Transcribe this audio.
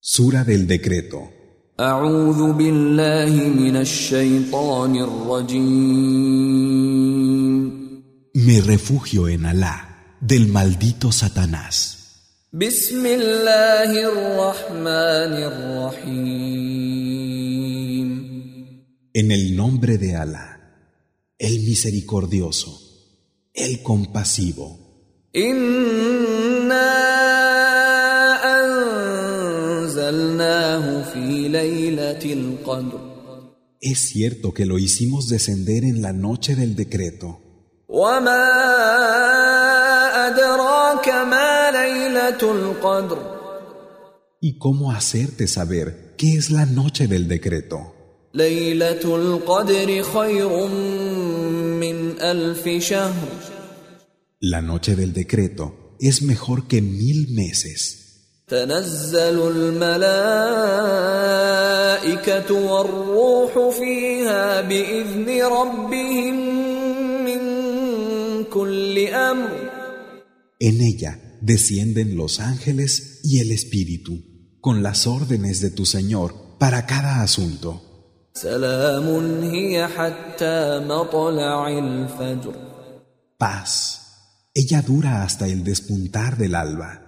Sura del decreto. أعوذ بالله من الشيطان الرجيم Me refugio en Alá, del maldito Satanás. بسم الله الرحمن الرحيم En el nombre de Alá, el misericordioso, el compasivo. إنا أنزلناه في ليلة القدر Es cierto que lo hicimos descender en la noche del decreto. وما أدراك ما ليلة القدر ¿Y cómo hacerte saber qué es la noche del decreto? ليلة القدر خير من ألف شهر La noche del decreto es mejor que mil meses. تنزل الملائكة والروح فيها بإذن ربهم من كل أمر En ella descienden los ángeles y el Espíritu, con las órdenes de tu Señor para cada asunto. سلام هي حتى مطلع الفجر Paz. Ella dura hasta el despuntar del alba.